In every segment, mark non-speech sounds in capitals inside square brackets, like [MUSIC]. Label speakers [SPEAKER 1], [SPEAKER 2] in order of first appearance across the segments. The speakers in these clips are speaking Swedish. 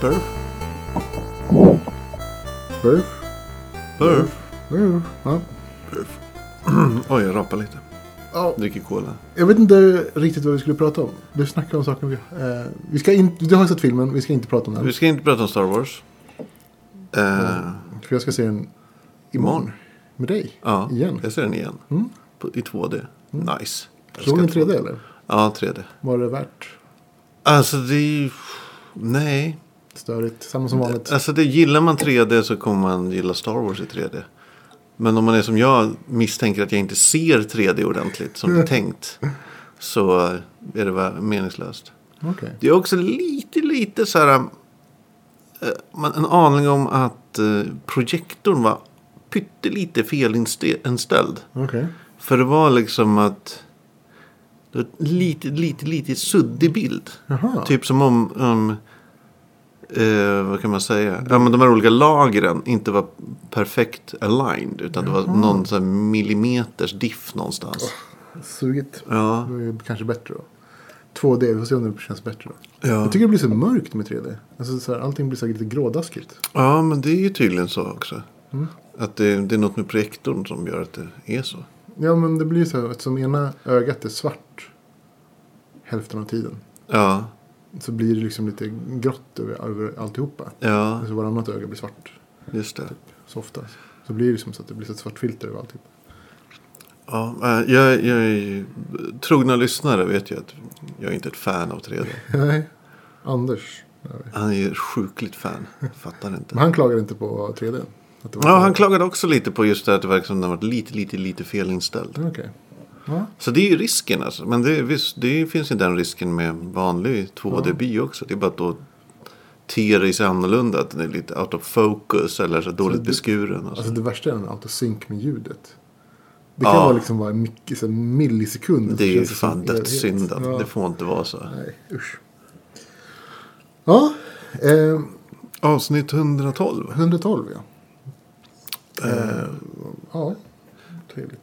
[SPEAKER 1] Perf. Perf.
[SPEAKER 2] Burf.
[SPEAKER 1] Mm. Ja.
[SPEAKER 2] Mm. Oj, jag rapar lite.
[SPEAKER 1] Ja,
[SPEAKER 2] Dricker cola.
[SPEAKER 1] jag vet inte riktigt vad vi skulle prata om. Du snackar om saker. vi- Eh, vi ska inte, du har sett filmen, vi ska inte prata om den.
[SPEAKER 2] Vi ska inte prata om Star Wars. Eh,
[SPEAKER 1] För jag ska se den
[SPEAKER 2] Imorgon.
[SPEAKER 1] imorgon. Med dig.
[SPEAKER 2] ja,
[SPEAKER 1] Igen. Mm.
[SPEAKER 2] jag ser den igen. På, I 2D. Nice. Jag
[SPEAKER 1] Såg ni
[SPEAKER 2] älskar
[SPEAKER 1] 3D eller?
[SPEAKER 2] Ja, 3D.
[SPEAKER 1] Var det värt?
[SPEAKER 2] Alltså det är ju... Nej.
[SPEAKER 1] Störigt. Samma som vanligt.
[SPEAKER 2] Alltså det gillar man 3D så kommer man gilla Star Wars i 3D. Men om man är som jag misstänker att jag inte ser 3D ordentligt som det är
[SPEAKER 1] [LAUGHS]
[SPEAKER 2] tänkt. Så är det väl meningslöst.
[SPEAKER 1] Okej.
[SPEAKER 2] Det är också lite, lite så här. eh, man- En aning om att eh, projektorn var pyttelite felinställd.
[SPEAKER 1] Okej.
[SPEAKER 2] För det var liksom att. Det var lite, lite, lite suddig bild.
[SPEAKER 1] Jaha.
[SPEAKER 2] Typ som om. om eh, vad kan man säga? Ja, men de här olika lagren inte var perfekt aligned. Utan det var någon så här millimeters diff någonstans.
[SPEAKER 1] Sugit.
[SPEAKER 2] Ja.
[SPEAKER 1] Det är ju kanske bättre då. 2D, vi får se om det känns bättre då.
[SPEAKER 2] Ja.
[SPEAKER 1] Jag tycker det blir så mörkt med 3D. Alltså så här, allting blir så här lite grådaskigt.
[SPEAKER 2] Ja, men det är ju tydligen så också. Att det, det är något med projektorn som gör att det är så.
[SPEAKER 1] Ja men det blir så här, eftersom ena ögat är svart hälften av tiden.
[SPEAKER 2] Ja,
[SPEAKER 1] Så blir det liksom lite grått över, över alltihopa.
[SPEAKER 2] ja
[SPEAKER 1] Alltså varannat öga blir svart.
[SPEAKER 2] just det.
[SPEAKER 1] Så ofta. Så blir det liksom så att det blir så ett svart filter över alltihopa.
[SPEAKER 2] Ja, eh, jag, jag är ju, trogna lyssnare vet ju att jag är inte ett fan av 3D.
[SPEAKER 1] Nej. Anders.
[SPEAKER 2] Han är ju sjukligt fan. Fattar inte.
[SPEAKER 1] Men han klagar inte på 3D? Att det var
[SPEAKER 2] Ja,
[SPEAKER 1] så-
[SPEAKER 2] han klagade också lite på just det här att det verkar som den varit lite, lite, lite felinställd.
[SPEAKER 1] Okej. Ja.
[SPEAKER 2] Så det är ju risken alltså. Men det, är visst, det finns ju den risken med vanlig 2D-bio också. Det är bara att då ter det sig annorlunda. Att den är lite out of focus eller så dåligt
[SPEAKER 1] det-
[SPEAKER 2] beskuren. Och så.
[SPEAKER 1] Alltså det värsta är en autosynk med ljudet. Det kan
[SPEAKER 2] Ja.
[SPEAKER 1] vara liksom bara en mycket, så här millisekund. Alltså,
[SPEAKER 2] Det är ju
[SPEAKER 1] Känns som
[SPEAKER 2] fan
[SPEAKER 1] en evighet.
[SPEAKER 2] dödssynden.
[SPEAKER 1] Ja.
[SPEAKER 2] Det får inte vara så.
[SPEAKER 1] Nej, usch. Ja, eh,
[SPEAKER 2] Avsnitt 112.
[SPEAKER 1] 112 ja. Eh, ja, trevligt.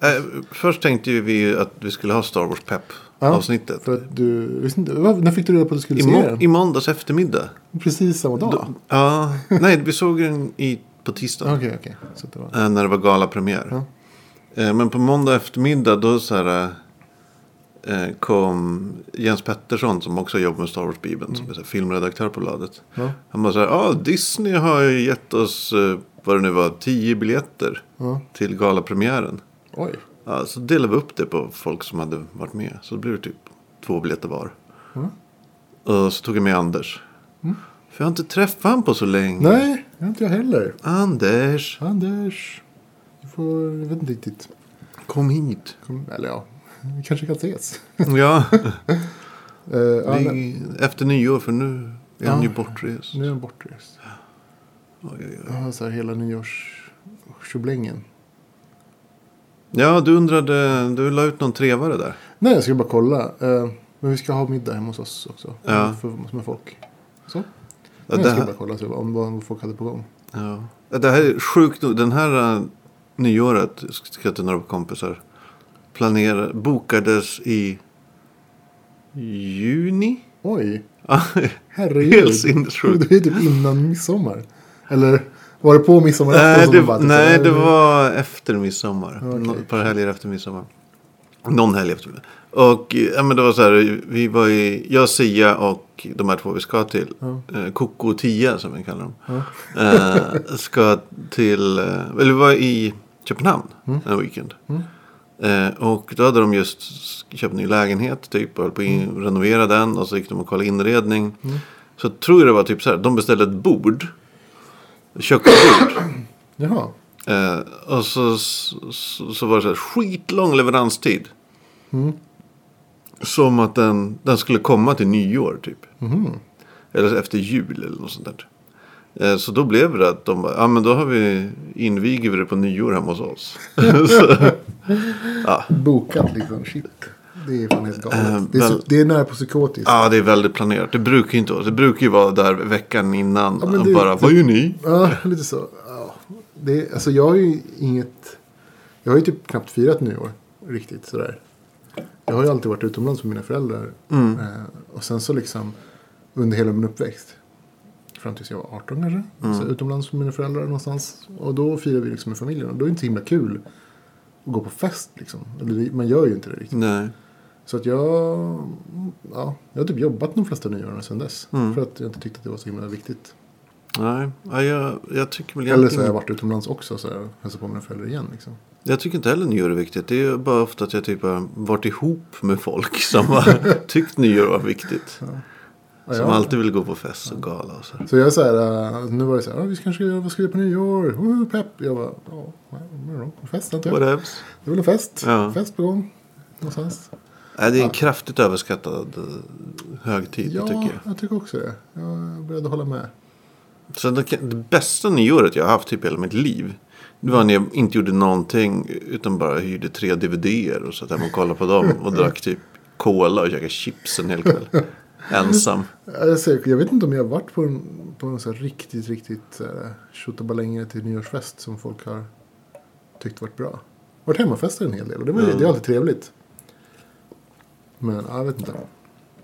[SPEAKER 2] Eh, först tänkte ju vi ju att vi skulle ha Star Wars
[SPEAKER 1] Ja,
[SPEAKER 2] pepp-avsnittet.
[SPEAKER 1] För att du, visste inte, vad- när fick du reda på att du skulle
[SPEAKER 2] I,
[SPEAKER 1] se
[SPEAKER 2] må-
[SPEAKER 1] den?
[SPEAKER 2] I måndags eftermiddag.
[SPEAKER 1] Precis samma dag?
[SPEAKER 2] Då- Ja, nej, vi såg den i, på tisdagen.
[SPEAKER 1] Okej, okej. Så det var...
[SPEAKER 2] Eh, när det var galapremiär.
[SPEAKER 1] Ja.
[SPEAKER 2] Eh, men på måndag eftermiddag då så här, eh, kom Jens Pettersson som också jobbar med Star Wars-bibeln. Som är så här, filmredaktör på bladet.
[SPEAKER 1] Mm. Ja.
[SPEAKER 2] Han bara så här, ah, Disney har ju gett oss, eh, vad det nu var, tio biljetter
[SPEAKER 1] Ja.
[SPEAKER 2] till galapremiären.
[SPEAKER 1] Oj,
[SPEAKER 2] Ja, så delade vi upp det på folk som hade varit med. Så det blev det typ två biljetter var.
[SPEAKER 1] Mm.
[SPEAKER 2] Och så tog jag med Anders. För jag har inte träffat honom på så länge.
[SPEAKER 1] nej, det har inte jag heller.
[SPEAKER 2] Anders,
[SPEAKER 1] Anders, du får, jag vet inte riktigt.
[SPEAKER 2] kom hit.
[SPEAKER 1] Kom- Eller ja, vi kanske kan ses.
[SPEAKER 2] Ja,
[SPEAKER 1] [LAUGHS] Eh, ja,
[SPEAKER 2] det
[SPEAKER 1] nej,
[SPEAKER 2] är efter nyår för nu är han
[SPEAKER 1] Ja.
[SPEAKER 2] ju bortrest.
[SPEAKER 1] nu är han bortrest.
[SPEAKER 2] Oj, oj, oj.
[SPEAKER 1] Ja, så här hela nyårstjoblängen.
[SPEAKER 2] Ja, du undrade, du la ut någon trevare där.
[SPEAKER 1] Nej, jag ska bara kolla. Eh, men vi ska ha middag hemma hos oss också.
[SPEAKER 2] Ja.
[SPEAKER 1] För, med folk. Så.
[SPEAKER 2] Ja,
[SPEAKER 1] Nej,
[SPEAKER 2] det
[SPEAKER 1] jag ska
[SPEAKER 2] här,
[SPEAKER 1] bara kolla så, om vad folk hade på gång.
[SPEAKER 2] ja. Ja, det här är sjukt nog. Den här äh, nyåret, ska jag till några kompisar, planerade, bokades i juni. [LAUGHS]
[SPEAKER 1] Oj,
[SPEAKER 2] Ja,
[SPEAKER 1] herregud.
[SPEAKER 2] Helt sinnessjukt.
[SPEAKER 1] [LAUGHS] Det är typ innan midsommar. Eller var det på midsommar?
[SPEAKER 2] nej,
[SPEAKER 1] som de bara
[SPEAKER 2] det,
[SPEAKER 1] typ
[SPEAKER 2] nej,
[SPEAKER 1] så här,
[SPEAKER 2] det var efter midsommar.
[SPEAKER 1] Okej.
[SPEAKER 2] Nå- Ett par helger efter midsommar. Någon helg efter midsommar. Och eh, ja, men det var så här, vi var i, jag, Sia och de här två vi ska till, eh, Koko och Tia som vi kallar dem, eh, ska till, eh, eller vi var i Köpenhamn en weekend. Eh, och då hade de just s- köpt ny lägenhet typ och höll på att in- renovera den och så gick de och kollade inredning. Så tror jag det var typ så här, de beställde ett bord, köksbord.
[SPEAKER 1] Jaha,
[SPEAKER 2] Eh, och så, så, så var det så här, skitlång leveranstid.
[SPEAKER 1] Mm.
[SPEAKER 2] Som att den, den skulle komma till nyår typ.
[SPEAKER 1] Mm-hmm.
[SPEAKER 2] Eller efter jul eller något sånt där. Eh, så då blev det att de bara, ja men då har vi, inviger vi det på nyår hemma hos
[SPEAKER 1] [LAUGHS]
[SPEAKER 2] oss. så, ja.
[SPEAKER 1] bokat liksom. Shit. Det är fan helt galet.
[SPEAKER 2] Eh,
[SPEAKER 1] det, är,
[SPEAKER 2] väl-
[SPEAKER 1] så- det är nära på psykotiskt.
[SPEAKER 2] ja, det är väldigt planerat. Det brukar ju inte vara, det brukar ju vara där veckan innan.
[SPEAKER 1] men
[SPEAKER 2] och
[SPEAKER 1] det-
[SPEAKER 2] bara,
[SPEAKER 1] det-
[SPEAKER 2] vad gör ni?
[SPEAKER 1] Ja, [LAUGHS] lite så. Ja. Det, alltså jag har ju inget... Jag har ju typ knappt firat nyår. Riktigt sådär. Jag har ju alltid varit utomlands med mina föräldrar. Eh, och sen så liksom under hela min uppväxt. fram tills jag var 18 kanske. Så utomlands med mina föräldrar någonstans. Och då firar vi liksom med familjen. Och då är det inte så himla kul att gå på fest liksom. Eller, det- man gör ju inte det riktigt.
[SPEAKER 2] Nej.
[SPEAKER 1] Så att jag, ja, jag har typ jobbat de flesta nyåren sedan dess. För att jag inte tyckte att det var så himla viktigt.
[SPEAKER 2] Nej. Ja, jag, jag tycker väl
[SPEAKER 1] Eller så har jag
[SPEAKER 2] egentligen-
[SPEAKER 1] varit utomlands också så jag hälsat på mina föräldrar igen liksom.
[SPEAKER 2] Jag tycker inte heller nyår är viktigt. Det är bara ofta att jag typ har varit ihop med folk [LAUGHS] som har tyckt nyår var viktigt.
[SPEAKER 1] Ja,
[SPEAKER 2] Som
[SPEAKER 1] ja.
[SPEAKER 2] alltid vill gå på fest och gala och så. här.
[SPEAKER 1] Så jag är så här, äh, nu var det så här, "Ja, vi kanske ska göra, vad ska vi göra på nyår? Woo, pepp! Jag bara, ja, vad är det då? fest antar jag. Det
[SPEAKER 2] Whatevs.
[SPEAKER 1] är väl en fest.
[SPEAKER 2] Ja.
[SPEAKER 1] Fest på gång. Någonstans.
[SPEAKER 2] Nej, det är en kraftigt överskattad eh, högtid
[SPEAKER 1] Ja,
[SPEAKER 2] tycker jag.
[SPEAKER 1] också det. Jag är beredd att hålla med.
[SPEAKER 2] Så det, kan- det bästa nyåret jag har haft typ hela mitt liv. Det var när jag inte gjorde någonting utan bara hyrde tre DVDer och satt hemma och kollade på dem. Och drack typ cola och käkade chips en hel [LAUGHS] kväll. Ensam.
[SPEAKER 1] Alltså, jag vet inte om jag har varit på en, på en så här riktigt, riktigt så här, tjottabalängre till nyårsfest som folk har tyckt varit bra. Varit hemmafester en hel del och det, var, ju-
[SPEAKER 2] Ja.
[SPEAKER 1] det är alltid trevligt. Men ja, jag vet inte.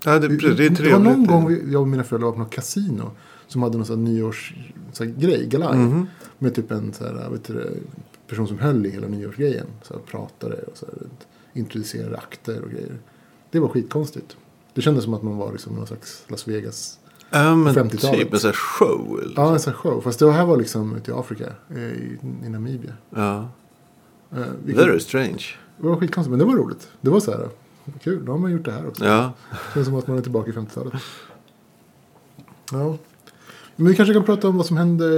[SPEAKER 2] Ja, det, precis, det är
[SPEAKER 1] Det var någon
[SPEAKER 2] trevligt.
[SPEAKER 1] gång vi- jag och mina föräldrar var på något kasino. Som hade någon sån här nyårsgrej, galaj.
[SPEAKER 2] Mhm.
[SPEAKER 1] Med typ en så här, vet du, det, person som höll i hela nyårsgrejen. Så här, pratade och så här, introducerade akter och grejer. Det var skitkonstigt. Det kändes som att man var liksom någon slags Las Vegas.
[SPEAKER 2] Ja, men
[SPEAKER 1] 50-talet.
[SPEAKER 2] typ en sån här show. Eller?
[SPEAKER 1] Ja, en sån här show. Fast det här var liksom ute i Afrika. eh, I, i Namibia.
[SPEAKER 2] Ja.
[SPEAKER 1] Eh, vilket-
[SPEAKER 2] Very strange.
[SPEAKER 1] Det var skitkonstigt, men det var roligt. Det var så här, kul, då har man gjort det här också.
[SPEAKER 2] Ja.
[SPEAKER 1] Det känns som att man är tillbaka i 50-talet. Ja. Men vi kanske kan prata om vad som händer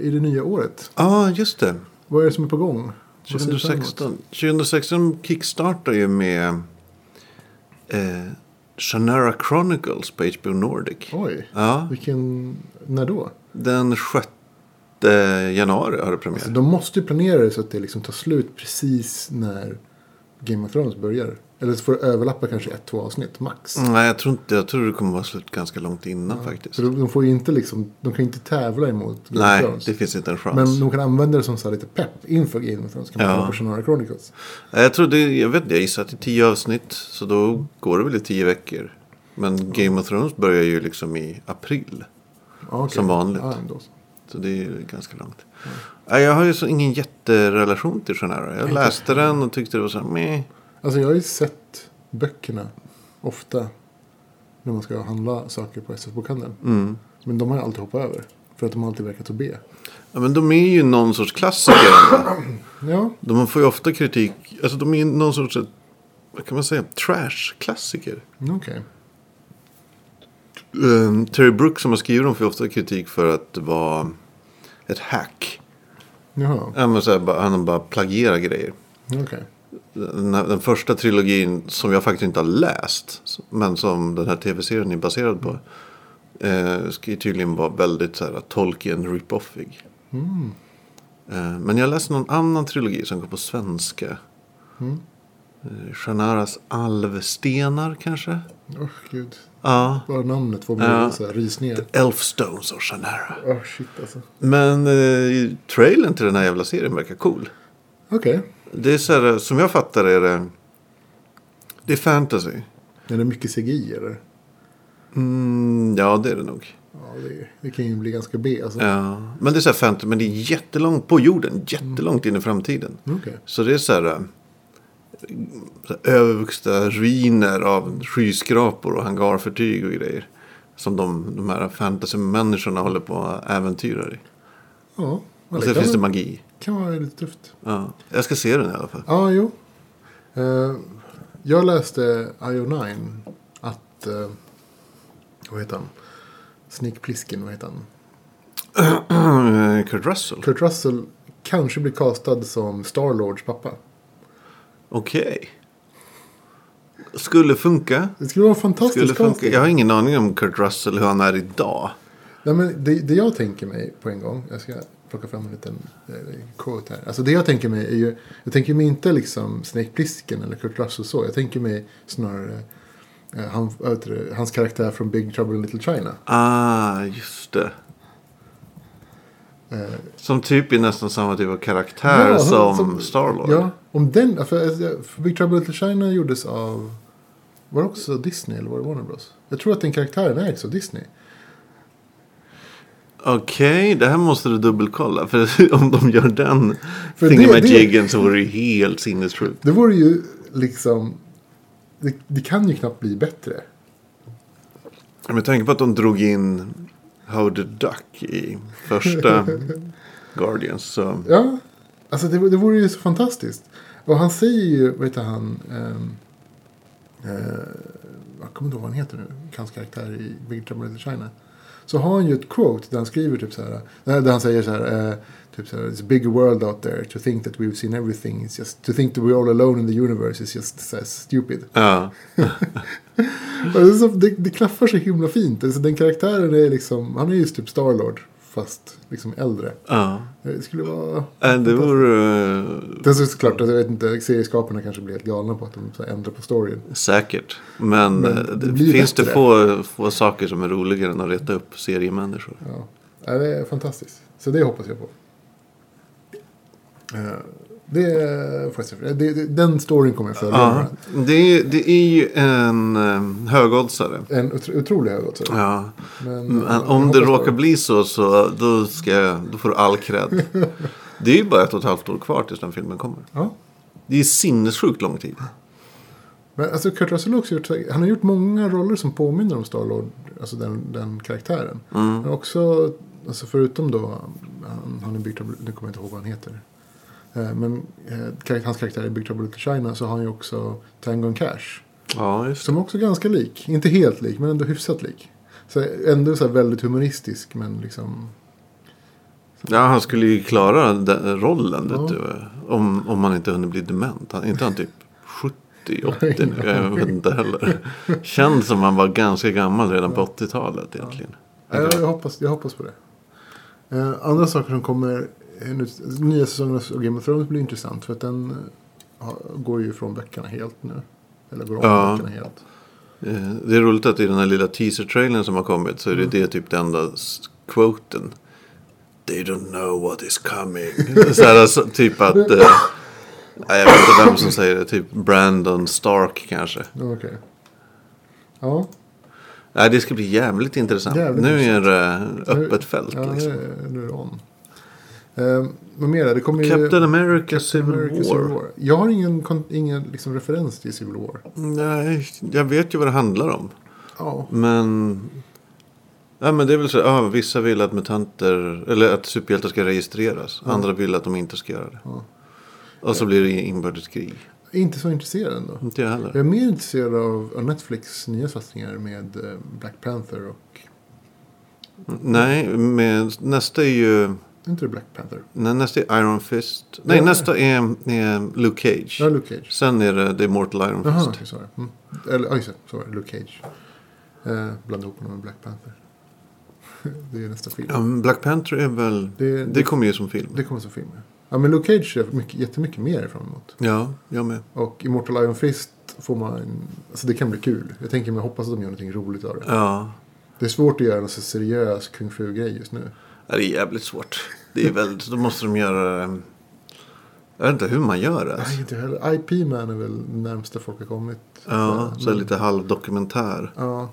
[SPEAKER 1] i det nya året.
[SPEAKER 2] Ja, just det.
[SPEAKER 1] Vad är det som är på gång? Vad ser vi fram emot?
[SPEAKER 2] 2016, 2016 kickstartar ju med eh, Shannara Chronicles på HBO Nordic.
[SPEAKER 1] Oj,
[SPEAKER 2] Ja,
[SPEAKER 1] vilken... När då?
[SPEAKER 2] den 6 januari har det premiär.
[SPEAKER 1] Alltså, de måste ju planera det så att det liksom tar slut precis när Game of Thrones börjar. Eller så får det överlappa kanske ett, två avsnitt max.
[SPEAKER 2] Nej, jag tror inte. Jag tror det kommer vara slut ganska långt innan Mm, faktiskt.
[SPEAKER 1] Så de, de får ju inte liksom, de kan ju inte tävla emot Game
[SPEAKER 2] Nej,
[SPEAKER 1] of Thrones.
[SPEAKER 2] det finns inte en chans.
[SPEAKER 1] Men de kan använda det som så här lite pepp inför Game of Thrones. Kan man
[SPEAKER 2] Ja.
[SPEAKER 1] kolla på Shannara Chronicles.
[SPEAKER 2] Nej, Jag tror det, jag vet inte, jag gissar att det är tio avsnitt. Så då går det väl i tio veckor. Men Game of Thrones börjar ju liksom i april.
[SPEAKER 1] Ja, okej.
[SPEAKER 2] Som vanligt.
[SPEAKER 1] Ja, ändå.
[SPEAKER 2] Så det är ju ganska långt. Nej, Jag har ju så ingen jätterelation till Genera. Jag läste den och tyckte det var så här, meh.
[SPEAKER 1] Alltså jag har ju sett böckerna ofta när man ska handla saker på SF-bokhandeln.
[SPEAKER 2] Mm.
[SPEAKER 1] Men de har jag alltid hoppat över. För att de har alltid verkat så B.
[SPEAKER 2] Ja, men de är ju någon sorts klassiker. ändå.
[SPEAKER 1] Ja,
[SPEAKER 2] De får ju ofta kritik. Alltså de är ju någon sorts, eh, vad kan man säga, trash-klassiker.
[SPEAKER 1] okej.
[SPEAKER 2] Eh, Terry Brooks som har skrivit dem får ju ofta kritik för att vara ett hack.
[SPEAKER 1] Jaha,
[SPEAKER 2] Ja, men så här, bara- han bara plagierar grejer.
[SPEAKER 1] okej.
[SPEAKER 2] Den, här, den första trilogin som jag faktiskt inte har läst. Men som den här tv-serien är baserad på. Eh, ska ju tydligen vara väldigt så här, Tolkien rip-offig. Eh, men jag läste någon annan trilogi som går på svenska. Mm. Eh, Shanaras alvstenar kanske?
[SPEAKER 1] Åh gud.
[SPEAKER 2] Ja.
[SPEAKER 1] Bara namnet får mig
[SPEAKER 2] Ja.
[SPEAKER 1] så här rysningar.
[SPEAKER 2] Elfstones och Shanara.
[SPEAKER 1] Åh shit alltså.
[SPEAKER 2] Men eh, trailern till den här jävla serien verkar cool.
[SPEAKER 1] Okej.
[SPEAKER 2] Det är så här, som jag fattar är det. Det är fantasy.
[SPEAKER 1] Är det mycket CGI eller?
[SPEAKER 2] Mm, ja, det är det nog.
[SPEAKER 1] Ja, det, det kan ju bli ganska B alltså.
[SPEAKER 2] Ja. Men det är så här fantasy, men det är jättelångt på jorden, jättelångt in i framtiden.
[SPEAKER 1] Okej.
[SPEAKER 2] Så det är så här, eh, så här övervuxna ruiner av skyskrapor och hangarfartyg och grejer. Som de, de här fantasymänniskorna håller på och äventyrar i.
[SPEAKER 1] Ja. men
[SPEAKER 2] Och
[SPEAKER 1] det
[SPEAKER 2] sen finns det
[SPEAKER 1] kan, vara-
[SPEAKER 2] magi.
[SPEAKER 1] kan vara lite tufft.
[SPEAKER 2] Ja. Jag ska se den i alla fall.
[SPEAKER 1] Ja, jo. Eh, jag läste IO9 att... eh, vad heter han? Sneak Plissken, vad heter han?
[SPEAKER 2] [CLEARS THROAT] Kurt Russell?
[SPEAKER 1] Kurt Russell kanske blir castad som Starlords pappa.
[SPEAKER 2] Okej. Skulle funka.
[SPEAKER 1] Det skulle vara en fantastisk
[SPEAKER 2] Skulle funka.
[SPEAKER 1] casting.
[SPEAKER 2] Jag har ingen aning om Kurt Russell, hur han är idag.
[SPEAKER 1] Nej, men det, det jag tänker mig på en gång, jag ska plocka fram en liten eh, quote här. Alltså det jag tänker mig är ju, jag tänker mig inte liksom Snake Plissken eller Kurt Russell så. Jag tänker mig snarare eh, han, vad heter det, hans karaktär från Big Trouble in Little China.
[SPEAKER 2] Ah, just det.
[SPEAKER 1] Eh,
[SPEAKER 2] Som typ är nästan samma typ av karaktär
[SPEAKER 1] Ja,
[SPEAKER 2] som,
[SPEAKER 1] som-
[SPEAKER 2] Starlord.
[SPEAKER 1] Ja, om den, för, alltså, för Big Trouble in Little China gjordes av, var det också Disney eller var det Warner Bros? Jag tror att den karaktären ägs av Disney.
[SPEAKER 2] Okej, det här måste du dubbelkolla. För [LAUGHS] om de gör den
[SPEAKER 1] För
[SPEAKER 2] thingamajiggen så vore det ju helt sinnessjukt.
[SPEAKER 1] Det vore ju liksom... Det, det kan ju knappt bli bättre.
[SPEAKER 2] Med tanke på att de drog in Howard the Duck i
[SPEAKER 1] [LAUGHS]
[SPEAKER 2] första Guardians så...
[SPEAKER 1] Ja, alltså det, det vore ju så fantastiskt. Och han säger ju, vad heter han? ehm, eh, jag kommer inte ihåg vad han heter nu. Hans karaktär i Big Trouble in China. Så har han ju ett quote där han skriver typ så här. Där där han säger så här. eh, typ så här. It's a big world out there. To think that we've seen everything. Is just, to think that we're all alone in the universe is just so stupid.
[SPEAKER 2] Ja.
[SPEAKER 1] Och det, är så, det, det klaffar så himla fint. Alltså, den karaktären är liksom. Han är ju typ Starlord. Fast liksom äldre.
[SPEAKER 2] ja.
[SPEAKER 1] Det skulle vara...
[SPEAKER 2] Äh, Det vore eh,
[SPEAKER 1] Det är såklart att jag vet inte, serieskaparna kanske blir helt galna på att de så här ändrar på storyn.
[SPEAKER 2] säkert. Men,
[SPEAKER 1] Men
[SPEAKER 2] eh,
[SPEAKER 1] det
[SPEAKER 2] det
[SPEAKER 1] blir ju
[SPEAKER 2] finns det
[SPEAKER 1] bättre.
[SPEAKER 2] få, få saker som är roligare än att reta upp seriemänniskor.
[SPEAKER 1] Ja. Ja, det är fantastiskt. Så det hoppas jag på. Eh, Det, får jag säga. det, det, den storyn kommer jag följa.
[SPEAKER 2] Ja, det är, det är ju en eh, högoddsare.
[SPEAKER 1] En otro, otrolig hög också.
[SPEAKER 2] Ja.
[SPEAKER 1] Men,
[SPEAKER 2] Men
[SPEAKER 1] jag
[SPEAKER 2] om det
[SPEAKER 1] hoppas på
[SPEAKER 2] råkar bli så, så då, ska, jag- då får du all [LAUGHS] cred. Det är ju bara ett och ett halvt år kvar tills den filmen kommer.
[SPEAKER 1] Ja.
[SPEAKER 2] Det är sinnessjukt lång tid.
[SPEAKER 1] Men alltså Kurt Russell har också gjort, han har gjort många roller som påminner om Starlord, alltså den, den karaktären. Men också, alltså förutom då, han, han är Big Trouble, nu kommer jag inte ihåg vad han heter. Eh, Men eh, kar- hans karaktär i Big Trouble Little China så har han ju också Tango and Cash.
[SPEAKER 2] Ja, just
[SPEAKER 1] Som är också ganska lik, inte helt lik men ändå hyfsat lik. Så ändå så här väldigt humoristisk men liksom,
[SPEAKER 2] Ja, han skulle ju klara den rollen. Vet
[SPEAKER 1] Ja.
[SPEAKER 2] du, om, om han inte hunnit bli dement. Han, inte han typ 70, [LAUGHS] 80 nu? Jag vet inte [LAUGHS] heller. Känns som han var ganska gammal redan på 80-talet egentligen.
[SPEAKER 1] ja, jag, jag, hoppas, jag hoppas på det. Eh, andra saker som kommer, eh, nu, nya säsongen av Game of Thrones blir intressant för att den eh, har- går ju från böckerna helt nu. Eller går om
[SPEAKER 2] Ja.
[SPEAKER 1] böckerna helt.
[SPEAKER 2] Eh, Det är roligt att i den här lilla teaser-trailern som har kommit så är
[SPEAKER 1] Mm.
[SPEAKER 2] det det typ det enda s- quoten. They don't know what is coming. [LAUGHS] så här, alltså, typ att... Eh, nej, jag vet inte vem som säger det. Typ Brandon Stark kanske.
[SPEAKER 1] Ja, Okej. Ja,
[SPEAKER 2] Nej, det ska bli jävligt intressant.
[SPEAKER 1] Jävligt
[SPEAKER 2] nu är det eh,
[SPEAKER 1] Nu-
[SPEAKER 2] öppet fält.
[SPEAKER 1] ja
[SPEAKER 2] liksom.
[SPEAKER 1] nu, nu är det on. Eh, vad mer? är Det kommer ju...
[SPEAKER 2] Captain America Civil
[SPEAKER 1] America
[SPEAKER 2] War.
[SPEAKER 1] Civil War. Jag har ingen, kon- ingen liksom, referens till Civil War.
[SPEAKER 2] Nej, jag vet ju vad det handlar om.
[SPEAKER 1] Ja.
[SPEAKER 2] Men... Ja, men det är väl så. Ja, vissa vill att mutanter, eller att superhjältar ska registreras. Andra vill att de inte ska göra det.
[SPEAKER 1] Ja.
[SPEAKER 2] Och så blir det inbördeskrig.
[SPEAKER 1] Jag är inte så intresserad ändå.
[SPEAKER 2] Inte jag
[SPEAKER 1] Jag
[SPEAKER 2] heller.
[SPEAKER 1] är mer intresserad av av Netflix nya satsningar med eh, Black Panther och...
[SPEAKER 2] Nej, men nästa är ju...
[SPEAKER 1] Är inte det Black Panther?
[SPEAKER 2] Nej, nästa är Iron Fist. Nej,
[SPEAKER 1] Ja.
[SPEAKER 2] nästa är, är Luke Cage.
[SPEAKER 1] Ja, Luke Cage.
[SPEAKER 2] Sen är det The Immortal Iron
[SPEAKER 1] Jaha,
[SPEAKER 2] Fist.
[SPEAKER 1] okej, sorry. Mm. Eller, ja, just det. Sorry, Luke Cage. Eh, blandade ihop honom med Black Panther. [LAUGHS] det är nästa film.
[SPEAKER 2] Ja, men Black Panther är väl...
[SPEAKER 1] Det-
[SPEAKER 2] Det,
[SPEAKER 1] det-
[SPEAKER 2] kommer ju som film.
[SPEAKER 1] Det kommer som film, ja. ja men Luke Cage är mycket, jättemycket mer fram emot.
[SPEAKER 2] Ja, jag med.
[SPEAKER 1] Och Immortal Iron Fist får man... Alltså det kan bli kul. Jag tänker men jag hoppas att de gör någonting roligt av det.
[SPEAKER 2] Ja.
[SPEAKER 1] Det är svårt att göra en så seriös kung fru-grej just nu.
[SPEAKER 2] Ja, Det är jävligt svårt. Det är väldigt, då måste de göra... eh, Jag vet inte hur man gör alltså. det.
[SPEAKER 1] Nej, inte heller. IP-man är väl det närmsta folk har kommit.
[SPEAKER 2] Ja, så
[SPEAKER 1] men-
[SPEAKER 2] lite halvdokumentär.
[SPEAKER 1] Ja.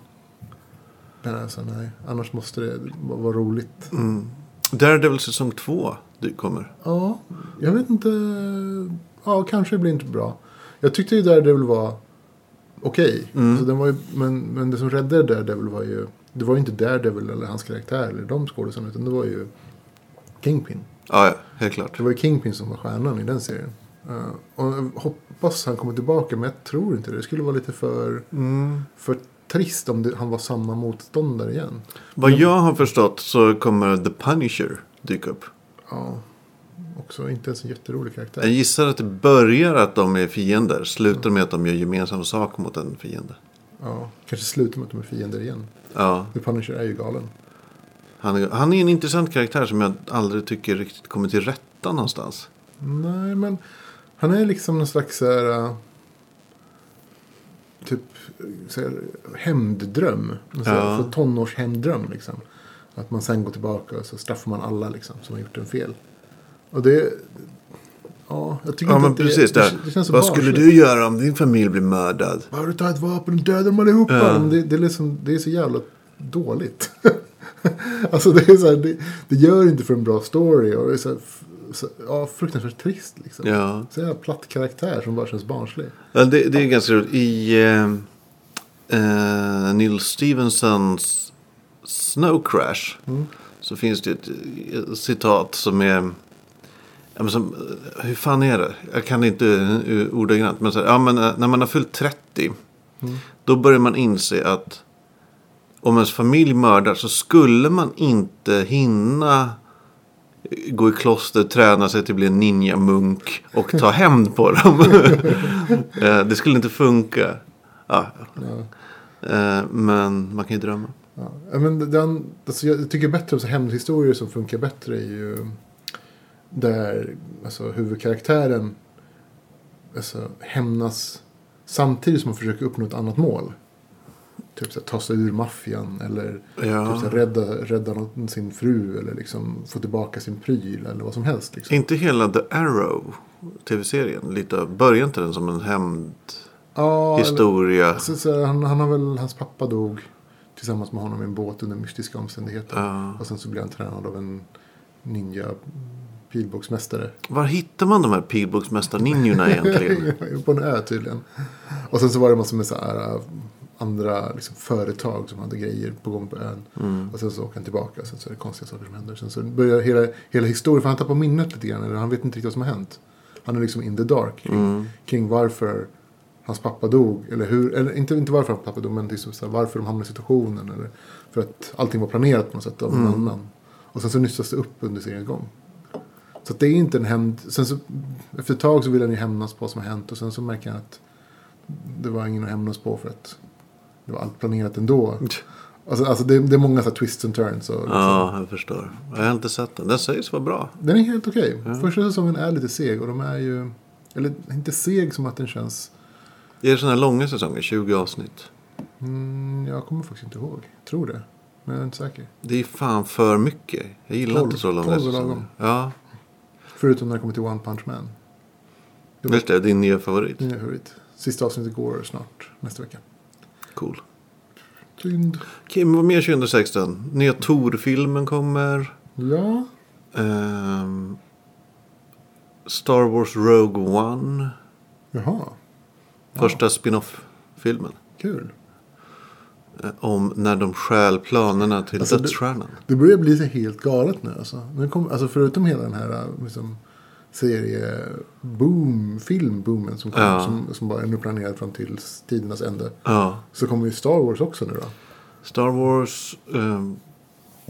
[SPEAKER 1] Men alltså nej. Annars måste det va- vara roligt.
[SPEAKER 2] Mm. Daredevil säsong två du kommer.
[SPEAKER 1] Ja, jag vet inte. Ja, kanske blir inte bra. Jag tyckte ju Daredevil var okej.
[SPEAKER 2] Mm.
[SPEAKER 1] Alltså, den var ju, men, men det som räddade Daredevil var ju... Det var ju inte Daredevil eller hans karaktär eller de skådisarna. Utan det var ju Kingpin.
[SPEAKER 2] Ja, ja, helt klart.
[SPEAKER 1] Det var ju Kingpin som var stjärnan i den serien. Eh, och jag hoppas han kommer tillbaka men jag tror inte det. Det skulle vara lite för, för trist om det, han var samma motståndare igen.
[SPEAKER 2] Vad jag har förstått så kommer The Punisher dyka upp.
[SPEAKER 1] Ja. Också inte ens en jätterolig karaktär.
[SPEAKER 2] Jag gissar att det börjar att de är fiender. Slutar med att de gör gemensam sak mot en fiende.
[SPEAKER 1] Ja. Kanske slutar med att de är fiender igen.
[SPEAKER 2] Ja,
[SPEAKER 1] The Punisher är ju galen.
[SPEAKER 2] han är, han är en intressant karaktär som jag aldrig tycker riktigt kommer till rätta någonstans.
[SPEAKER 1] Nej, men han är liksom någon slags så här, äh, typ så här, hämnddröm. Så här,
[SPEAKER 2] Ja.
[SPEAKER 1] För tonårshämnddröm liksom. Att man sen går tillbaka och så straffar man alla liksom, som har gjort en fel. Och det... Ja, jag tycker
[SPEAKER 2] Ja,
[SPEAKER 1] inte
[SPEAKER 2] men
[SPEAKER 1] att det,
[SPEAKER 2] precis.
[SPEAKER 1] det,
[SPEAKER 2] Där.
[SPEAKER 1] det, känns så
[SPEAKER 2] Vad skulle
[SPEAKER 1] barnsligt.
[SPEAKER 2] du göra om din familj blir mördad?
[SPEAKER 1] Bara du tar ett vapen och dödar dem allihopa.
[SPEAKER 2] Ja.
[SPEAKER 1] Men det, det, är liksom, det är så jävla dåligt. [LAUGHS] alltså det, är så här, det, det gör inte för en bra story. Och det är så här, f- så, ja, fruktansvärt trist liksom.
[SPEAKER 2] Ja.
[SPEAKER 1] Så jävla platt karaktär som bara känns barnslig.
[SPEAKER 2] Ja, det, det är ganska roligt. I eh, eh, Neil Stevensons Snow Crash så finns det ett eh, citat som är... Ja, men som, eh, hur fan är det? Jag kan inte eh, ordagrant. Men, så här, ja, men eh, när man har fyllt 30 då börjar man inse att om ens familj mördar så skulle man inte hinna gå i kloster, träna sig till att bli en ninja-munk och ta hämnd på dem. [LAUGHS] Eh, det skulle inte funka. Ja. Eh, Men man kan ju drömma.
[SPEAKER 1] Ja. Ja, Men den, alltså jag tycker bättre om så hämndhistorier som funkar bättre är ju där alltså, huvudkaraktären alltså, hämnas samtidigt som man försöker uppnå ett annat mål. Typ så här, ta sig ur maffian eller
[SPEAKER 2] Ja.
[SPEAKER 1] typ så här, rädda, rädda någon, sin fru eller liksom, få tillbaka sin pryl eller vad som helst. Liksom.
[SPEAKER 2] Inte hela The Arrow, tv-serien. Lite av början till den som en hämndhistoria.
[SPEAKER 1] Ja, eller- Så, så, här, han, han har väl, hans pappa dog tillsammans med honom i en båt under mystiska omständigheter.
[SPEAKER 2] Ja.
[SPEAKER 1] Och sen så blev han tränad av en ninja pilbågsmästare.
[SPEAKER 2] Var hittar man de här pilbågsmästarninjorna
[SPEAKER 1] [LAUGHS]
[SPEAKER 2] egentligen?
[SPEAKER 1] På en ö tydligen. Och sen så var det massor med så här, äh, andra liksom, företag som hade grejer på gång på ön. Och sen så åker han tillbaka och sen så är det konstiga saker som händer. Sen så börjar hela, hela historien, för han tappar minnet lite grann. Eller han vet inte riktigt vad som har hänt. Han är liksom in the dark kring, kring varför hans pappa dog. Eller, hur, eller inte, inte varför hans pappa dog, men liksom så här, varför de hamnade i situationen. Eller för att allting var planerat på något sätt av någon annan. Och sen så nystas det upp under seriens gång. Så att det är inte en hämnd. Sen så, efter ett tag så vill han ju hämnas på vad som har hänt. Och sen så märker han att det var ingen att hämnas på för att det var allt planerat ändå. Alltså, alltså det, det är många så här twists and turns. Och liksom.
[SPEAKER 2] Ja, jag förstår. Jag har inte sett den. Den sägs vara bra.
[SPEAKER 1] Den är helt okej. Första säsongen är lite seg. Och de är ju... Eller inte seg som att den känns...
[SPEAKER 2] Det är sådana här långa säsonger, 20 avsnitt.
[SPEAKER 1] Mm, jag kommer faktiskt inte ihåg. Tror det. Men jag är inte säker.
[SPEAKER 2] Det är fan för mycket. Jag gillar
[SPEAKER 1] Tolv.
[SPEAKER 2] inte så långa
[SPEAKER 1] Tolv är
[SPEAKER 2] säsonger.
[SPEAKER 1] lagom.
[SPEAKER 2] Ja,
[SPEAKER 1] Förutom när det kommer till One Punch Man. Det var
[SPEAKER 2] just det. Din nya favorit.
[SPEAKER 1] min favorit. Sista avsnittet går snart. Nästa vecka.
[SPEAKER 2] Cool.
[SPEAKER 1] Synd.
[SPEAKER 2] Kim, vad mer 2016? Nya Tor-filmen kommer.
[SPEAKER 1] Ja.
[SPEAKER 2] Ehm, Star Wars Rogue One.
[SPEAKER 1] Jaha.
[SPEAKER 2] Första spin-off-filmen.
[SPEAKER 1] Kul.
[SPEAKER 2] eh, Om när de stjäl planerna till
[SPEAKER 1] Alltså, det-
[SPEAKER 2] dödsstjärnan.
[SPEAKER 1] Det börjar bli så helt galet nu alltså. Nu kom, alltså förutom hela den här liksom, serie boom, filmboomen som, kom,
[SPEAKER 2] Ja.
[SPEAKER 1] som, som bara är nu planerad fram till tidernas ände.
[SPEAKER 2] Ja.
[SPEAKER 1] Så kommer ju Star Wars också nu då.
[SPEAKER 2] Star Wars. ehm,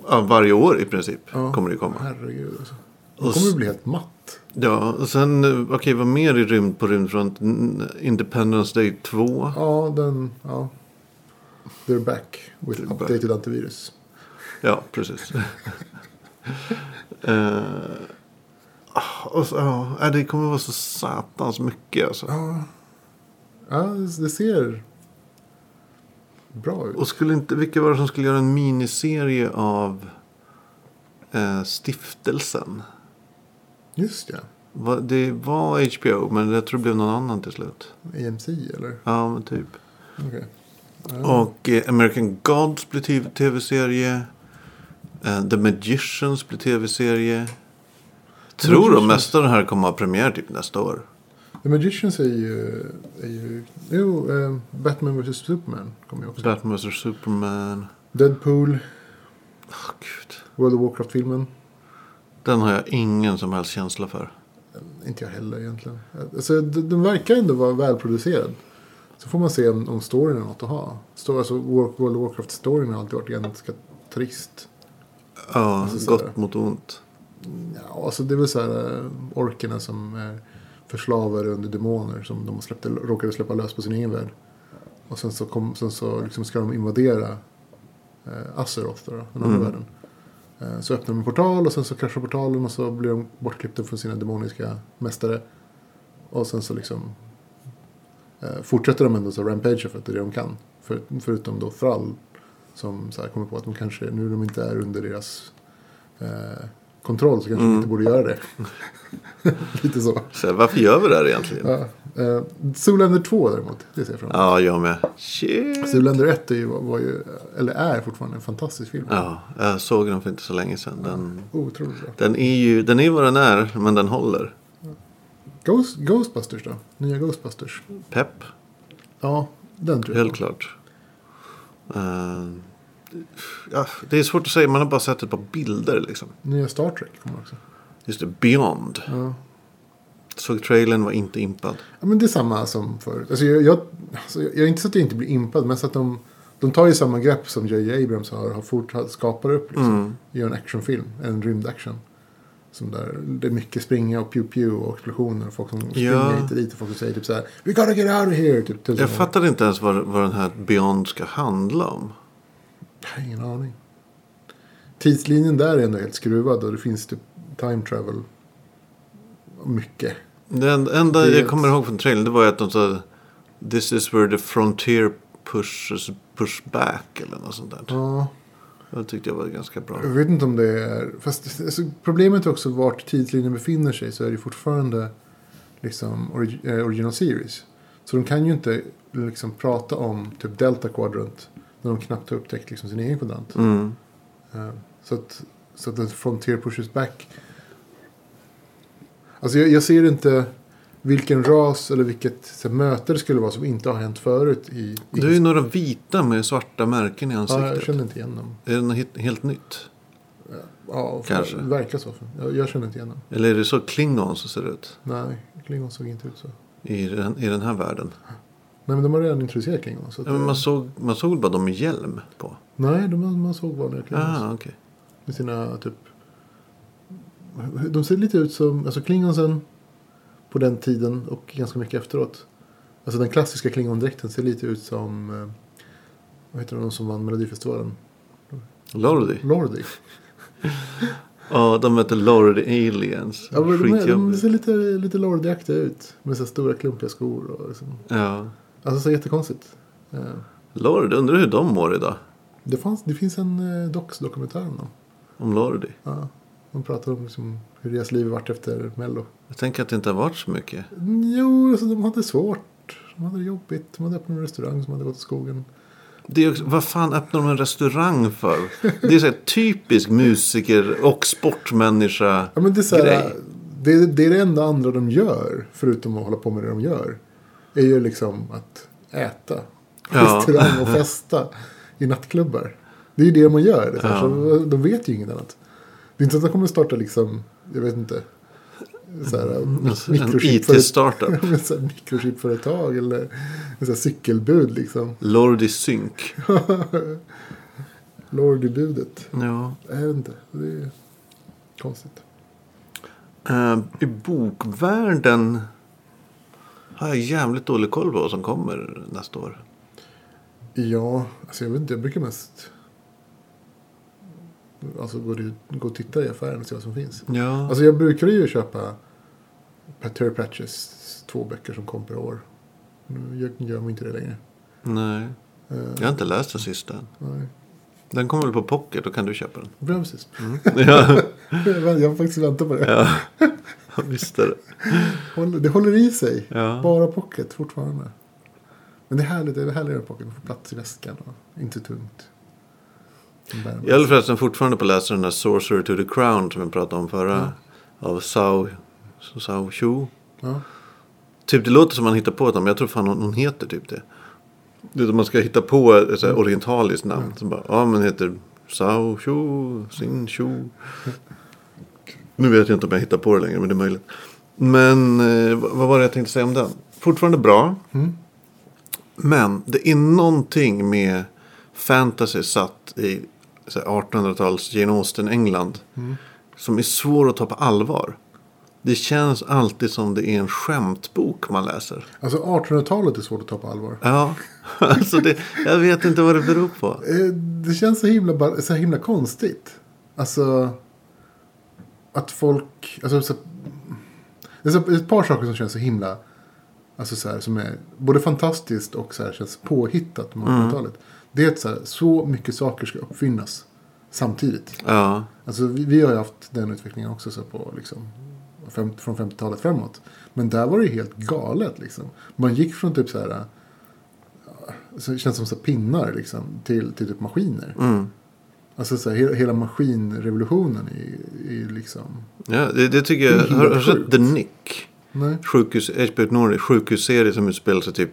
[SPEAKER 2] ja, varje år i princip
[SPEAKER 1] Ja.
[SPEAKER 2] kommer det komma.
[SPEAKER 1] Herregud alltså.
[SPEAKER 2] Och
[SPEAKER 1] Då
[SPEAKER 2] s-
[SPEAKER 1] kommer det bli helt matt.
[SPEAKER 2] Ja, och sen eh, okej, vad mer i rymd på rymdfront? N- Independence Day 2.
[SPEAKER 1] Ja, den, ja. They're back with
[SPEAKER 2] They're back.
[SPEAKER 1] updated antivirus.
[SPEAKER 2] Ja, precis. [LAUGHS] Eh, och så, ja, nej, det kommer vara så satans mycket alltså.
[SPEAKER 1] Ja. Ja, det ser bra ut.
[SPEAKER 2] Och skulle inte, vilka var det som skulle göra en miniserie av eh, Stiftelsen?
[SPEAKER 1] Just ja.
[SPEAKER 2] Va, det var HBO, men jag tror det blev någon annan till slut.
[SPEAKER 1] AMC eller?
[SPEAKER 2] Ja, men typ.
[SPEAKER 1] Okej.
[SPEAKER 2] Och eh, American Gods blir TV- tv-serie. Eh, The Magicians blir tv-serie. Tror de
[SPEAKER 1] Magicians.
[SPEAKER 2] mesta av det här kommer ha premiär typ nästa år.
[SPEAKER 1] The Magicians är ju... Är ju jo, eh, Batman vs Superman kommer ju också.
[SPEAKER 2] Batman vs Superman.
[SPEAKER 1] Deadpool,
[SPEAKER 2] Åh, Gud.
[SPEAKER 1] World of Warcraft-filmen.
[SPEAKER 2] Den har jag ingen som helst känsla för.
[SPEAKER 1] Inte jag heller egentligen. Alltså, d- den verkar ändå vara välproducerad. Så får man se om, om storyn är något att ha. Står, alltså, War- World of Warcraft-storyn har alltid varit ganska trist.
[SPEAKER 2] Ja,
[SPEAKER 1] Alltså, så
[SPEAKER 2] gott
[SPEAKER 1] där.
[SPEAKER 2] mot ont.
[SPEAKER 1] Ja, alltså, det är väl så här eh, orkerna som är förslavade under demoner som de släppte, råkade släppa lös på sin egen värld. Och sen så, kom, sen så liksom ska de invadera eh, Azeroth, då, den andra världen. Eh, så öppnar de en portal och sen så kraschar portalen och så blir de bortklippta från sina demoniska mästare. Och sen så liksom eh, fortsätter de ändå så rampage för att det är det de kan. För, förutom då Frall som så här kommer på att de kanske, nu när de inte är under deras eh,
[SPEAKER 2] Mm.
[SPEAKER 1] kontroll så kanske de inte borde göra det. [LAUGHS] Lite så.
[SPEAKER 2] Så här, varför gör vi det här egentligen?
[SPEAKER 1] Ja, Eh, Zoolander 2 däremot, det ser jag fram emot.
[SPEAKER 2] Ja, jag med. Shit.
[SPEAKER 1] Zoolander 1 är ju, var ju, eller är fortfarande en fantastisk film.
[SPEAKER 2] Ja, jag såg den för inte så länge sedan. Den,
[SPEAKER 1] Otroligt bra.
[SPEAKER 2] den är ju den är vad den är, men den håller.
[SPEAKER 1] Ghost, Ghostbusters då? Nya Ghostbusters?
[SPEAKER 2] Pepp,
[SPEAKER 1] Ja, den tror jag.
[SPEAKER 2] helt klart. Eh, ja, det är svårt att säga, man har bara sett ett par bilder liksom.
[SPEAKER 1] Nya Star Trek kommer också.
[SPEAKER 2] Just det, Beyond.
[SPEAKER 1] Ja.
[SPEAKER 2] Såg trailern, var inte impad.
[SPEAKER 1] Ja, men det är samma som förut. Alltså, jag, jag, alltså, jag, jag är inte så att jag inte blir impad, men så att de, de tar ju samma grepp som J.J. Abrams har, har fort, har- skapar upp. Liksom.
[SPEAKER 2] Mm.
[SPEAKER 1] Gör en actionfilm, en rymdaction. Som där, det är mycket springa och pew pew och explosioner. Och folk som springer
[SPEAKER 2] Ja.
[SPEAKER 1] hit och dit och folk som säger typ så här. We gotta get out of here! Typ, tusen
[SPEAKER 2] Jag
[SPEAKER 1] gånger.
[SPEAKER 2] fattade inte ens vad, vad den här Beyond ska handla om.
[SPEAKER 1] Jag har ingen aning. Tidslinjen där är ändå helt skruvad och det finns typ time travel. Mycket.
[SPEAKER 2] Det en- enda
[SPEAKER 1] Det är
[SPEAKER 2] jag kommer ihåg från trailern det var ju att de sa This is where the frontier pushes push back eller något sånt där.
[SPEAKER 1] Ja.
[SPEAKER 2] Det
[SPEAKER 1] Mm.
[SPEAKER 2] tyckte jag var ganska bra.
[SPEAKER 1] Jag vet inte om det är... Fast alltså, problemet är också vart tidslinjen befinner sig så är det fortfarande liksom orig, eh, original series. Så de kan ju inte liksom prata om typ Delta Quadrant när de knappt har upptäckt liksom sin egen kvadrant.
[SPEAKER 2] Mm.
[SPEAKER 1] Eh, Så att, så att the frontier pushes back. Alltså jag, jag ser inte vilken ras eller vilket så här, möte det skulle vara som inte har hänt förut i... i
[SPEAKER 2] Det är ju några vita med svarta märken i
[SPEAKER 1] ja, jag
[SPEAKER 2] ansiktet.
[SPEAKER 1] känner inte igen dem.
[SPEAKER 2] Är det något helt, helt nytt?
[SPEAKER 1] Ja,
[SPEAKER 2] Kanske.
[SPEAKER 1] Det verkar så. Jag, jag känner inte igen dem.
[SPEAKER 2] Eller är det så Klingons ser ut
[SPEAKER 1] Nej, Klingon såg inte ut så.
[SPEAKER 2] i den, i den här världen?
[SPEAKER 1] Nej, men de har redan introducerat Klingon. Så att,
[SPEAKER 2] Ja, men Man såg, man såg bara dem med hjälm på.
[SPEAKER 1] Nej, de, man såg vanliga Klingons.
[SPEAKER 2] Ah, okej.
[SPEAKER 1] Med sina typ... De ser lite ut som... Alltså Klingonsen på den tiden och ganska mycket efteråt. Alltså den klassiska Klingondräkten ser lite ut som... eh, Vad heter de som vann Melodifestivalen?
[SPEAKER 2] Lordi.
[SPEAKER 1] Lordi.
[SPEAKER 2] Ja, de heter Lordi Aliens.
[SPEAKER 1] Ja, men de, är- de
[SPEAKER 2] Skitjobbigt.
[SPEAKER 1] ser lite, lite Lordi-aktiga ut. Med så här stora klumpiga skor och liksom.
[SPEAKER 2] Ja.
[SPEAKER 1] Alltså så jättekonstigt. Eh,
[SPEAKER 2] Lordi, undrar hur de mår idag?
[SPEAKER 1] Det, fanns, det finns en eh, Docs-dokumentär om dem.
[SPEAKER 2] Om Lordi.
[SPEAKER 1] Ja, de pratar om liksom hur deras liv varit efter Mello.
[SPEAKER 2] Jag tänker att det inte har varit så mycket.
[SPEAKER 1] Mm, Jo, alltså de hade svårt. De hade det jobbigt. De hade öppnat en restaurang som hade gått i skogen.
[SPEAKER 2] Det är också, vad fan öppnar de en restaurang för? Det är så här typisk musiker och sportmänniska
[SPEAKER 1] Ja, men det, är så här,
[SPEAKER 2] grej.
[SPEAKER 1] det, det är det enda andra de gör, förutom att hålla på med det de gör. är ju liksom att äta på
[SPEAKER 2] Ja.
[SPEAKER 1] [LAUGHS] restaurang och festa i nattklubbar. Det är ju det man gör. Det är så här, så de vet ju inget annat. Det är inte så att de kommer starta liksom, jag vet inte, så här,
[SPEAKER 2] Alltså, En
[SPEAKER 1] mikrochipföretag.
[SPEAKER 2] IT-startup.
[SPEAKER 1] [LAUGHS] Ja, men så här Mikrochipföretag eller så här cykelbud liksom. [LAUGHS]
[SPEAKER 2] Lordi Sync.
[SPEAKER 1] Lordy-budet.
[SPEAKER 2] Ja.
[SPEAKER 1] Jag vet inte. Det är konstigt.
[SPEAKER 2] Eh, I bokvärlden har jag jävligt dålig koll på vad som kommer nästa år.
[SPEAKER 1] Ja, alltså jag vet inte. Jag brukar mest alltså gå, gå och titta i affären och se vad som finns.
[SPEAKER 2] Ja.
[SPEAKER 1] Alltså jag brukar ju köpa Terry Pratchetts två böcker som kom per år. Nu gör- gör man inte det längre. Eh,
[SPEAKER 2] Nej. Jag har inte läst den sista än.
[SPEAKER 1] Nej,
[SPEAKER 2] Den kommer väl på pocket, då kan du köpa den.
[SPEAKER 1] bra precis.
[SPEAKER 2] [LAUGHS] ja,
[SPEAKER 1] Mm. [LAUGHS] jag har faktiskt väntat på det.
[SPEAKER 2] ja. Visst är det.
[SPEAKER 1] Håller- Det håller i sig.
[SPEAKER 2] Ja.
[SPEAKER 1] Bara pocket fortfarande. Men det är härligt. Det är härligare med pocket. Man får plats i väskan och inte tungt. Den bär man.
[SPEAKER 2] Jag håller förresten fortfarande på att läsa den där Sorcerer to the Crown som vi pratade om förra. Av Sao, Sao Chu.
[SPEAKER 1] Ja.
[SPEAKER 2] Typ det låter som man hittar på ett namn, men jag tror fan hon, hon heter typ det. Du vet, man ska hitta på ett så här orientaliskt namn. Så bara, ja men heter Sao Chu, Sin Chu. Nu vet jag inte om jag hittar på det längre, men det är möjligt. Men eh, vad vad var det jag tänkte säga om den? Fortfarande bra. Men det är någonting med fantasy satt i så här 1800-tals Jane Austen, England. Som är svår att ta på allvar. Det känns alltid som det är en skämtbok man läser.
[SPEAKER 1] Alltså 1800-talet är svårt att ta på allvar.
[SPEAKER 2] Ja, [LAUGHS] alltså det, jag vet inte vad det beror på.
[SPEAKER 1] Eh, Det känns så himla, bar- så himla konstigt. Alltså. Att folk. Alltså, så, det är så, ett par saker som känns så himla. Alltså så här, som är både fantastiskt och så här, känns påhittat med 1800-talet. Det är att så, här, så mycket saker ska uppfinnas samtidigt.
[SPEAKER 2] Ja,
[SPEAKER 1] Alltså vi, vi har ju haft den utvecklingen också så på liksom, fem, från 50-talet framåt. Men där var det ju helt galet liksom. Man gick från typ så här, så det känns som så här pinnar liksom, till, till typ maskiner.
[SPEAKER 2] Mm.
[SPEAKER 1] Alltså så här, he- hela maskinrevolutionen är ju- är ju liksom,
[SPEAKER 2] Ja, det, det tycker jag.
[SPEAKER 1] Det är
[SPEAKER 2] Har har du
[SPEAKER 1] helt
[SPEAKER 2] sett
[SPEAKER 1] sjukt.
[SPEAKER 2] The Nick?
[SPEAKER 1] nej.
[SPEAKER 2] Sjukhus, HBO Nordic, sjukhusserie som utspelar sig typ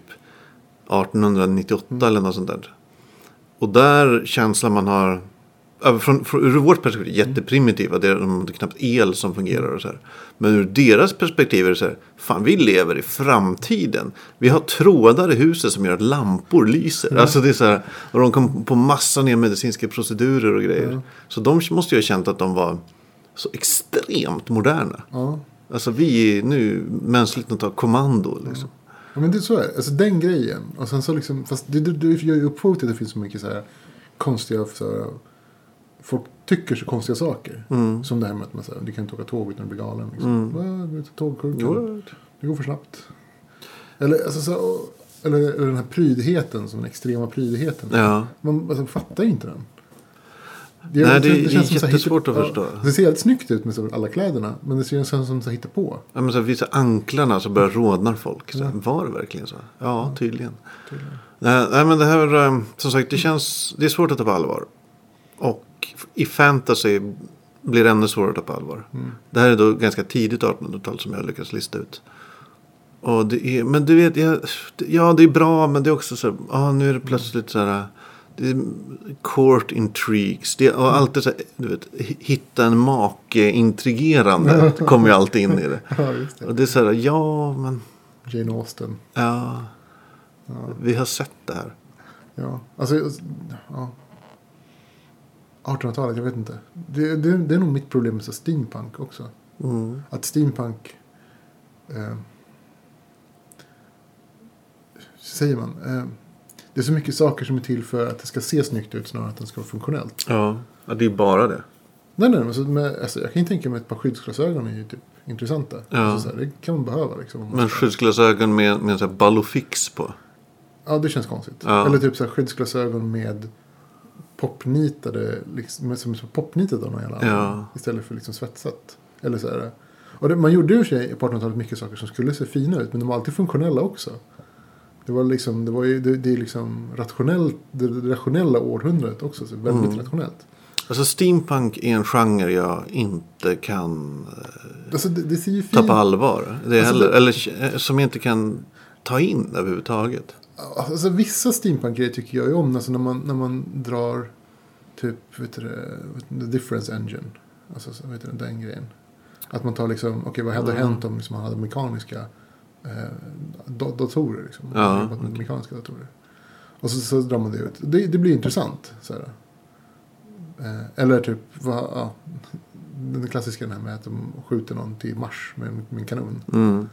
[SPEAKER 2] 1898 eller något sånt där. Och där känslan man har, ja, från, från, ur vårt perspektiv, jätteprimitiva, det är, de hade knappt el som fungerar och så här. Men ur deras perspektiv är det så här, fan vi lever i framtiden. Vi har trådar i huset som gör att lampor lyser. Alltså det är så här, och de kom på massa nya medicinska procedurer och grejer. Så de måste ju ha känt att de var så extremt moderna.
[SPEAKER 1] Ja.
[SPEAKER 2] Alltså vi är nu mänskligt att ta kommando liksom.
[SPEAKER 1] Ja, men det är så är det. Alltså den grejen. Och sen så liksom, fast det, det, det gör ju upphov till att det finns så mycket så här konstiga, så här, folk tycker så konstiga saker.
[SPEAKER 2] Mm.
[SPEAKER 1] Som det här med att man säger, du kan inte åka tåg utan att bli galen. Liksom. Mm. Va, tågkurkan,
[SPEAKER 2] Word.
[SPEAKER 1] det går för snabbt. Eller, alltså, så, och- eller, eller den här prydheten, som den extrema prydheten.
[SPEAKER 2] Ja.
[SPEAKER 1] Man alltså, fattar ju inte den.
[SPEAKER 2] Nej, det- det är
[SPEAKER 1] så här
[SPEAKER 2] jättesvårt
[SPEAKER 1] hitta-
[SPEAKER 2] att förstå.
[SPEAKER 1] Ja, det ser helt snyggt ut med så, alla kläderna. Men det ser känns som så
[SPEAKER 2] [LAUGHS]
[SPEAKER 1] hitta på.
[SPEAKER 2] Ja, men så här, vissa anklarna så börjar rodna folk. Så här, Var det verkligen så? Ja, tydligen. Nej, nej, men det här, eh, som sagt, det känns, det är svårt att ta på allvar. Och i fantasy blir det ännu svårare att ta på allvar. Det här är då ganska tidigt 1800-tal som jag lyckats lista ut. Och det är, men du vet, jag, ja det är bra men det är också så här, ah, nu är det plötsligt så här, det är court intrigues. Det, och alltid så här, du vet, hi- hitta en make intrigerande kommer ju alltid in i det.
[SPEAKER 1] Ja, just det.
[SPEAKER 2] Och det är så här, ja men,
[SPEAKER 1] Jane Austen.
[SPEAKER 2] ja, vi har sett det här.
[SPEAKER 1] Ja, alltså... Ja. 1800-talet, jag vet inte. Det, det, det är nog mitt problem med så här steampunk också.
[SPEAKER 2] Mm.
[SPEAKER 1] Att steampunk... Eh, säger man? Eh, det är så mycket saker som är till för att det ska se snyggt ut snarare än att det ska vara funktionellt.
[SPEAKER 2] Ja. ja, det är bara det.
[SPEAKER 1] Nej, nej, men så med, alltså, jag kan ju tänka mig att ett par skyddsglasögon är ju typ intressanta.
[SPEAKER 2] Ja.
[SPEAKER 1] Alltså, så här, det kan man behöva liksom. om man
[SPEAKER 2] Men
[SPEAKER 1] ska-
[SPEAKER 2] skyddsglasögon med, med en sån här ballofix på.
[SPEAKER 1] Ja, det känns konstigt.
[SPEAKER 2] Ja.
[SPEAKER 1] Eller typ så här skyddsglasögon med popnitade, liksom, som är så popnitat av någon jävla
[SPEAKER 2] Ja.
[SPEAKER 1] annan, Istället för liksom svetsat. Eller så här. Och det, man gjorde ju i och för sig på 1800-talet mycket saker som skulle se fina ut, men de var alltid funktionella också. Det var liksom, det var ju, det, det är liksom rationellt, det, det rationella århundradet också, så väldigt
[SPEAKER 2] Mm.
[SPEAKER 1] rationellt.
[SPEAKER 2] Alltså steampunk är en genre jag inte kan eh,
[SPEAKER 1] Alltså det, det ser ju
[SPEAKER 2] ta
[SPEAKER 1] fint
[SPEAKER 2] på allvar. Mm. Det är
[SPEAKER 1] Alltså,
[SPEAKER 2] heller,
[SPEAKER 1] det-
[SPEAKER 2] Eller eh, som jag inte kan ta in överhuvudtaget.
[SPEAKER 1] Alltså vissa steampunk-grejer tycker jag ju om. Alltså när man, när man drar typ, vet du det, the difference engine. Alltså så, vet du, det, den grejen. Att man tar liksom, okej vad hade hänt om liksom, man hade mekaniska eh, da- datorer? Liksom,
[SPEAKER 2] Ja,
[SPEAKER 1] Man hade jobbat med mekaniska datorer. Och så, så drar man det ut. Det, det blir intressant. Så här. Eh, eller typ, vad, ja, den klassiska den här med att de skjuter någon till Mars med, med en kanon.
[SPEAKER 2] Mm.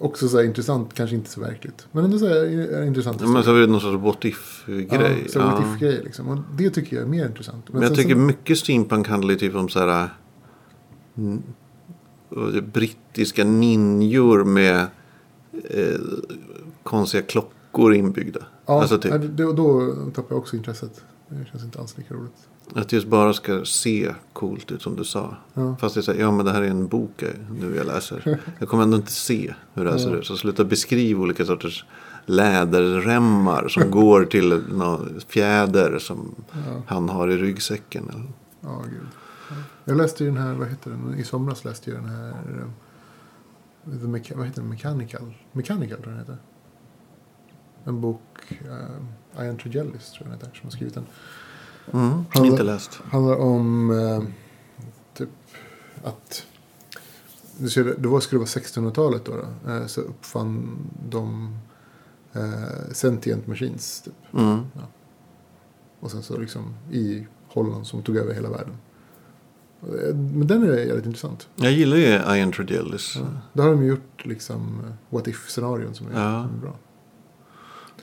[SPEAKER 1] Också så här intressant, kanske inte så verkligt. Men ändå så här, är det intressant.
[SPEAKER 2] Ja, Men så är det någon sorts what if-grej.
[SPEAKER 1] Ja, så
[SPEAKER 2] Ja.
[SPEAKER 1] what if-grej liksom. Och det tycker jag är mer intressant.
[SPEAKER 2] Men jag
[SPEAKER 1] sen
[SPEAKER 2] tycker
[SPEAKER 1] så,
[SPEAKER 2] mycket steampunk handlar ju typ om så här... mm, och det Brittiska ninjor med eh, konstiga klockor inbyggda.
[SPEAKER 1] ja,
[SPEAKER 2] alltså typ
[SPEAKER 1] nej, det- då, då tappar jag också intresset. Det känns inte alls lika roligt.
[SPEAKER 2] att det just bara ska se coolt ut som du sa.
[SPEAKER 1] Ja.
[SPEAKER 2] Fast det är så här, ja men det här är en bok eh, nu jag läser. Jag kommer ändå inte se hur det här ser ut. Så sluta beskriva olika sorters läderremmar som går till någon fjäder som han har i ryggsäcken. eller-
[SPEAKER 1] Ja, gud. Ja. Jag läste ju den här, vad heter den? I somras läste jag den här... eh, The Mecha- vad heter den? Mechanical? Mechanical tror jag den heter. En bok, uh, Ian Tregellis tror jag den heter, som har skrivit den.
[SPEAKER 2] Mm,
[SPEAKER 1] Har du-
[SPEAKER 2] inte läst.
[SPEAKER 1] handlar om eh, typ att du ser, det var, skulle vara 1600-talet då, då eh, så uppfann de eh, sentient machines typ.
[SPEAKER 2] Mm.
[SPEAKER 1] och sen så liksom i Holland som tog över hela världen. Och, eh, Men den är jävligt intressant.
[SPEAKER 2] Jag gillar ju Ian Tregellis. Ja.
[SPEAKER 1] Där har de ju gjort liksom eh, what if-scenarion som är,
[SPEAKER 2] Ja.
[SPEAKER 1] som är bra.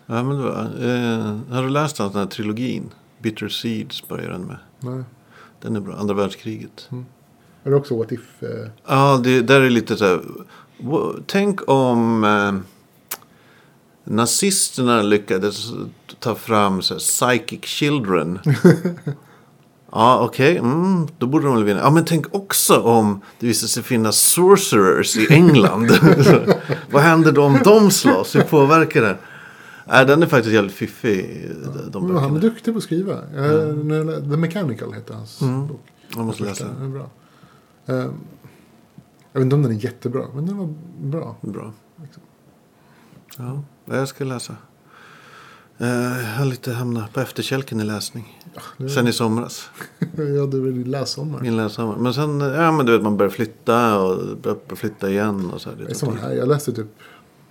[SPEAKER 2] men det var, eh, har du läst den här trilogin? Bitter Seeds börjar den med.
[SPEAKER 1] Nej.
[SPEAKER 2] Den är bra. Andra världskriget.
[SPEAKER 1] Är det också what if? Eh,
[SPEAKER 2] Ja, det där är lite så här. wo- Tänk om eh, nazisterna lyckades ta fram så här, Psychic Children. Ja, okej. Mm, då borde de väl vinna. Ja, men tänk också om det visar sig finnas sorcerers i England. [LAUGHS] Så, Vad händer då om de slåss? Hur påverkar det? Nej, den är faktiskt jävligt fiffig. De
[SPEAKER 1] Men han är
[SPEAKER 2] böckerna.
[SPEAKER 1] duktig på att skriva. Eh, när jag lä- The Mechanical heter hans
[SPEAKER 2] Mm.
[SPEAKER 1] bok.
[SPEAKER 2] Jag måste läsa
[SPEAKER 1] den.
[SPEAKER 2] den.
[SPEAKER 1] Den Alltså, är bra. Eh, jag vet inte om den är jättebra, men den var bra.
[SPEAKER 2] Bra. Ja, jag ska läsa. Eh, Jag har lite hamnat på efterkälken i läsning.
[SPEAKER 1] Ah, det-
[SPEAKER 2] Sen i somras.
[SPEAKER 1] [LAUGHS] ja, det är väl lässommar.
[SPEAKER 2] Min lässommar. Men sen, ja men du vet man börjar flytta och börjar flytta igen och så här. Det
[SPEAKER 1] Det är
[SPEAKER 2] tar
[SPEAKER 1] samma
[SPEAKER 2] tid.
[SPEAKER 1] här. Jag läste typ,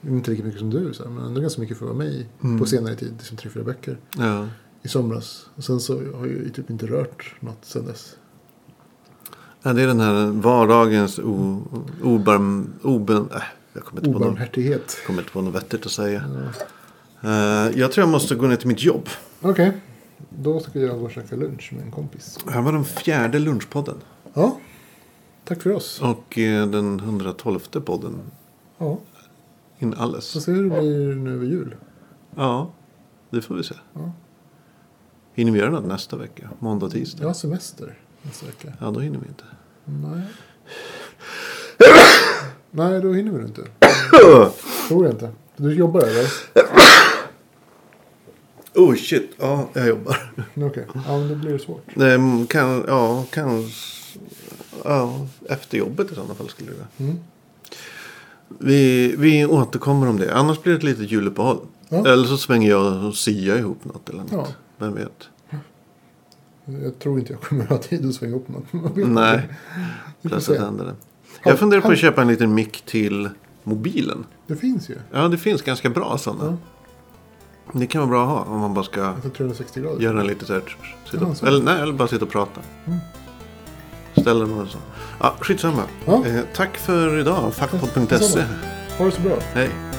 [SPEAKER 1] inte lika mycket som du, så här, men ändå ganska mycket för mig
[SPEAKER 2] Mm.
[SPEAKER 1] på senare tid. Liksom tre, fyra böcker
[SPEAKER 2] Ja.
[SPEAKER 1] i somras. Och sen så har jag ju typ inte rört något sen dess.
[SPEAKER 2] ja, det är den här vardagens o, obarm, oben, äh, jag kommer inte på något,
[SPEAKER 1] Obarmhärtighet.
[SPEAKER 2] kommer inte på något vettigt att säga. Eh, jag tror jag måste gå ner till mitt jobb.
[SPEAKER 1] Okej, då ska jag gå och käka lunch med en kompis.
[SPEAKER 2] Det här var den fjärde lunchpodden.
[SPEAKER 1] Ja, tack för oss.
[SPEAKER 2] Och eh, den 112 podden
[SPEAKER 1] Ja,
[SPEAKER 2] in
[SPEAKER 1] så
[SPEAKER 2] alles.
[SPEAKER 1] ser vi hur det blir nu över jul.
[SPEAKER 2] Ja, det får vi se.
[SPEAKER 1] Ja.
[SPEAKER 2] Hinner vi göra något nästa vecka? Måndag, tisdag?
[SPEAKER 1] Jag har semester nästa vecka.
[SPEAKER 2] Ja, då hinner vi
[SPEAKER 1] [CLEARS THROAT]
[SPEAKER 2] inte.
[SPEAKER 1] Nej. Nej, då hinner vi nog inte. Tror jag inte. Du jobbar eller?
[SPEAKER 2] Oh shit, ja, jag [LAUGHS] jobbar.
[SPEAKER 1] Okej, ja, men då blir det svårt.
[SPEAKER 2] Ehm, Kan, ja, kan, ja, efter jobbet i sådana fall skulle det vara.
[SPEAKER 1] Mm.
[SPEAKER 2] Vi, vi återkommer om det. Annars blir det ett litet juluppehåll.
[SPEAKER 1] Ja.
[SPEAKER 2] Eller så svänger jag och Sia ihop något eller något.
[SPEAKER 1] Ja.
[SPEAKER 2] Vem vet.
[SPEAKER 1] Jag tror inte jag kommer ha tid att svänga upp något. [LAUGHS] Man vet
[SPEAKER 2] Nej,
[SPEAKER 1] inte. Vi får
[SPEAKER 2] plötsligt
[SPEAKER 1] se.
[SPEAKER 2] händer det.
[SPEAKER 1] Ja,
[SPEAKER 2] Jag funderar på
[SPEAKER 1] han-
[SPEAKER 2] att köpa en liten mick till mobilen.
[SPEAKER 1] Det finns ju.
[SPEAKER 2] Ja, det finns ganska bra sådana. Det kan vara bra att ha om man bara ska
[SPEAKER 1] För 360 Alltså, grader.
[SPEAKER 2] göra en liten så här... Sitta,
[SPEAKER 1] Ja, så. Mm.
[SPEAKER 2] eller, nej, eller bara sitta och prata. Ställer man och så. Ja, skitsamma.
[SPEAKER 1] Ja.
[SPEAKER 2] Eh, tack för idag. Fackpod.se.
[SPEAKER 1] Ha det så bra.
[SPEAKER 2] Hej.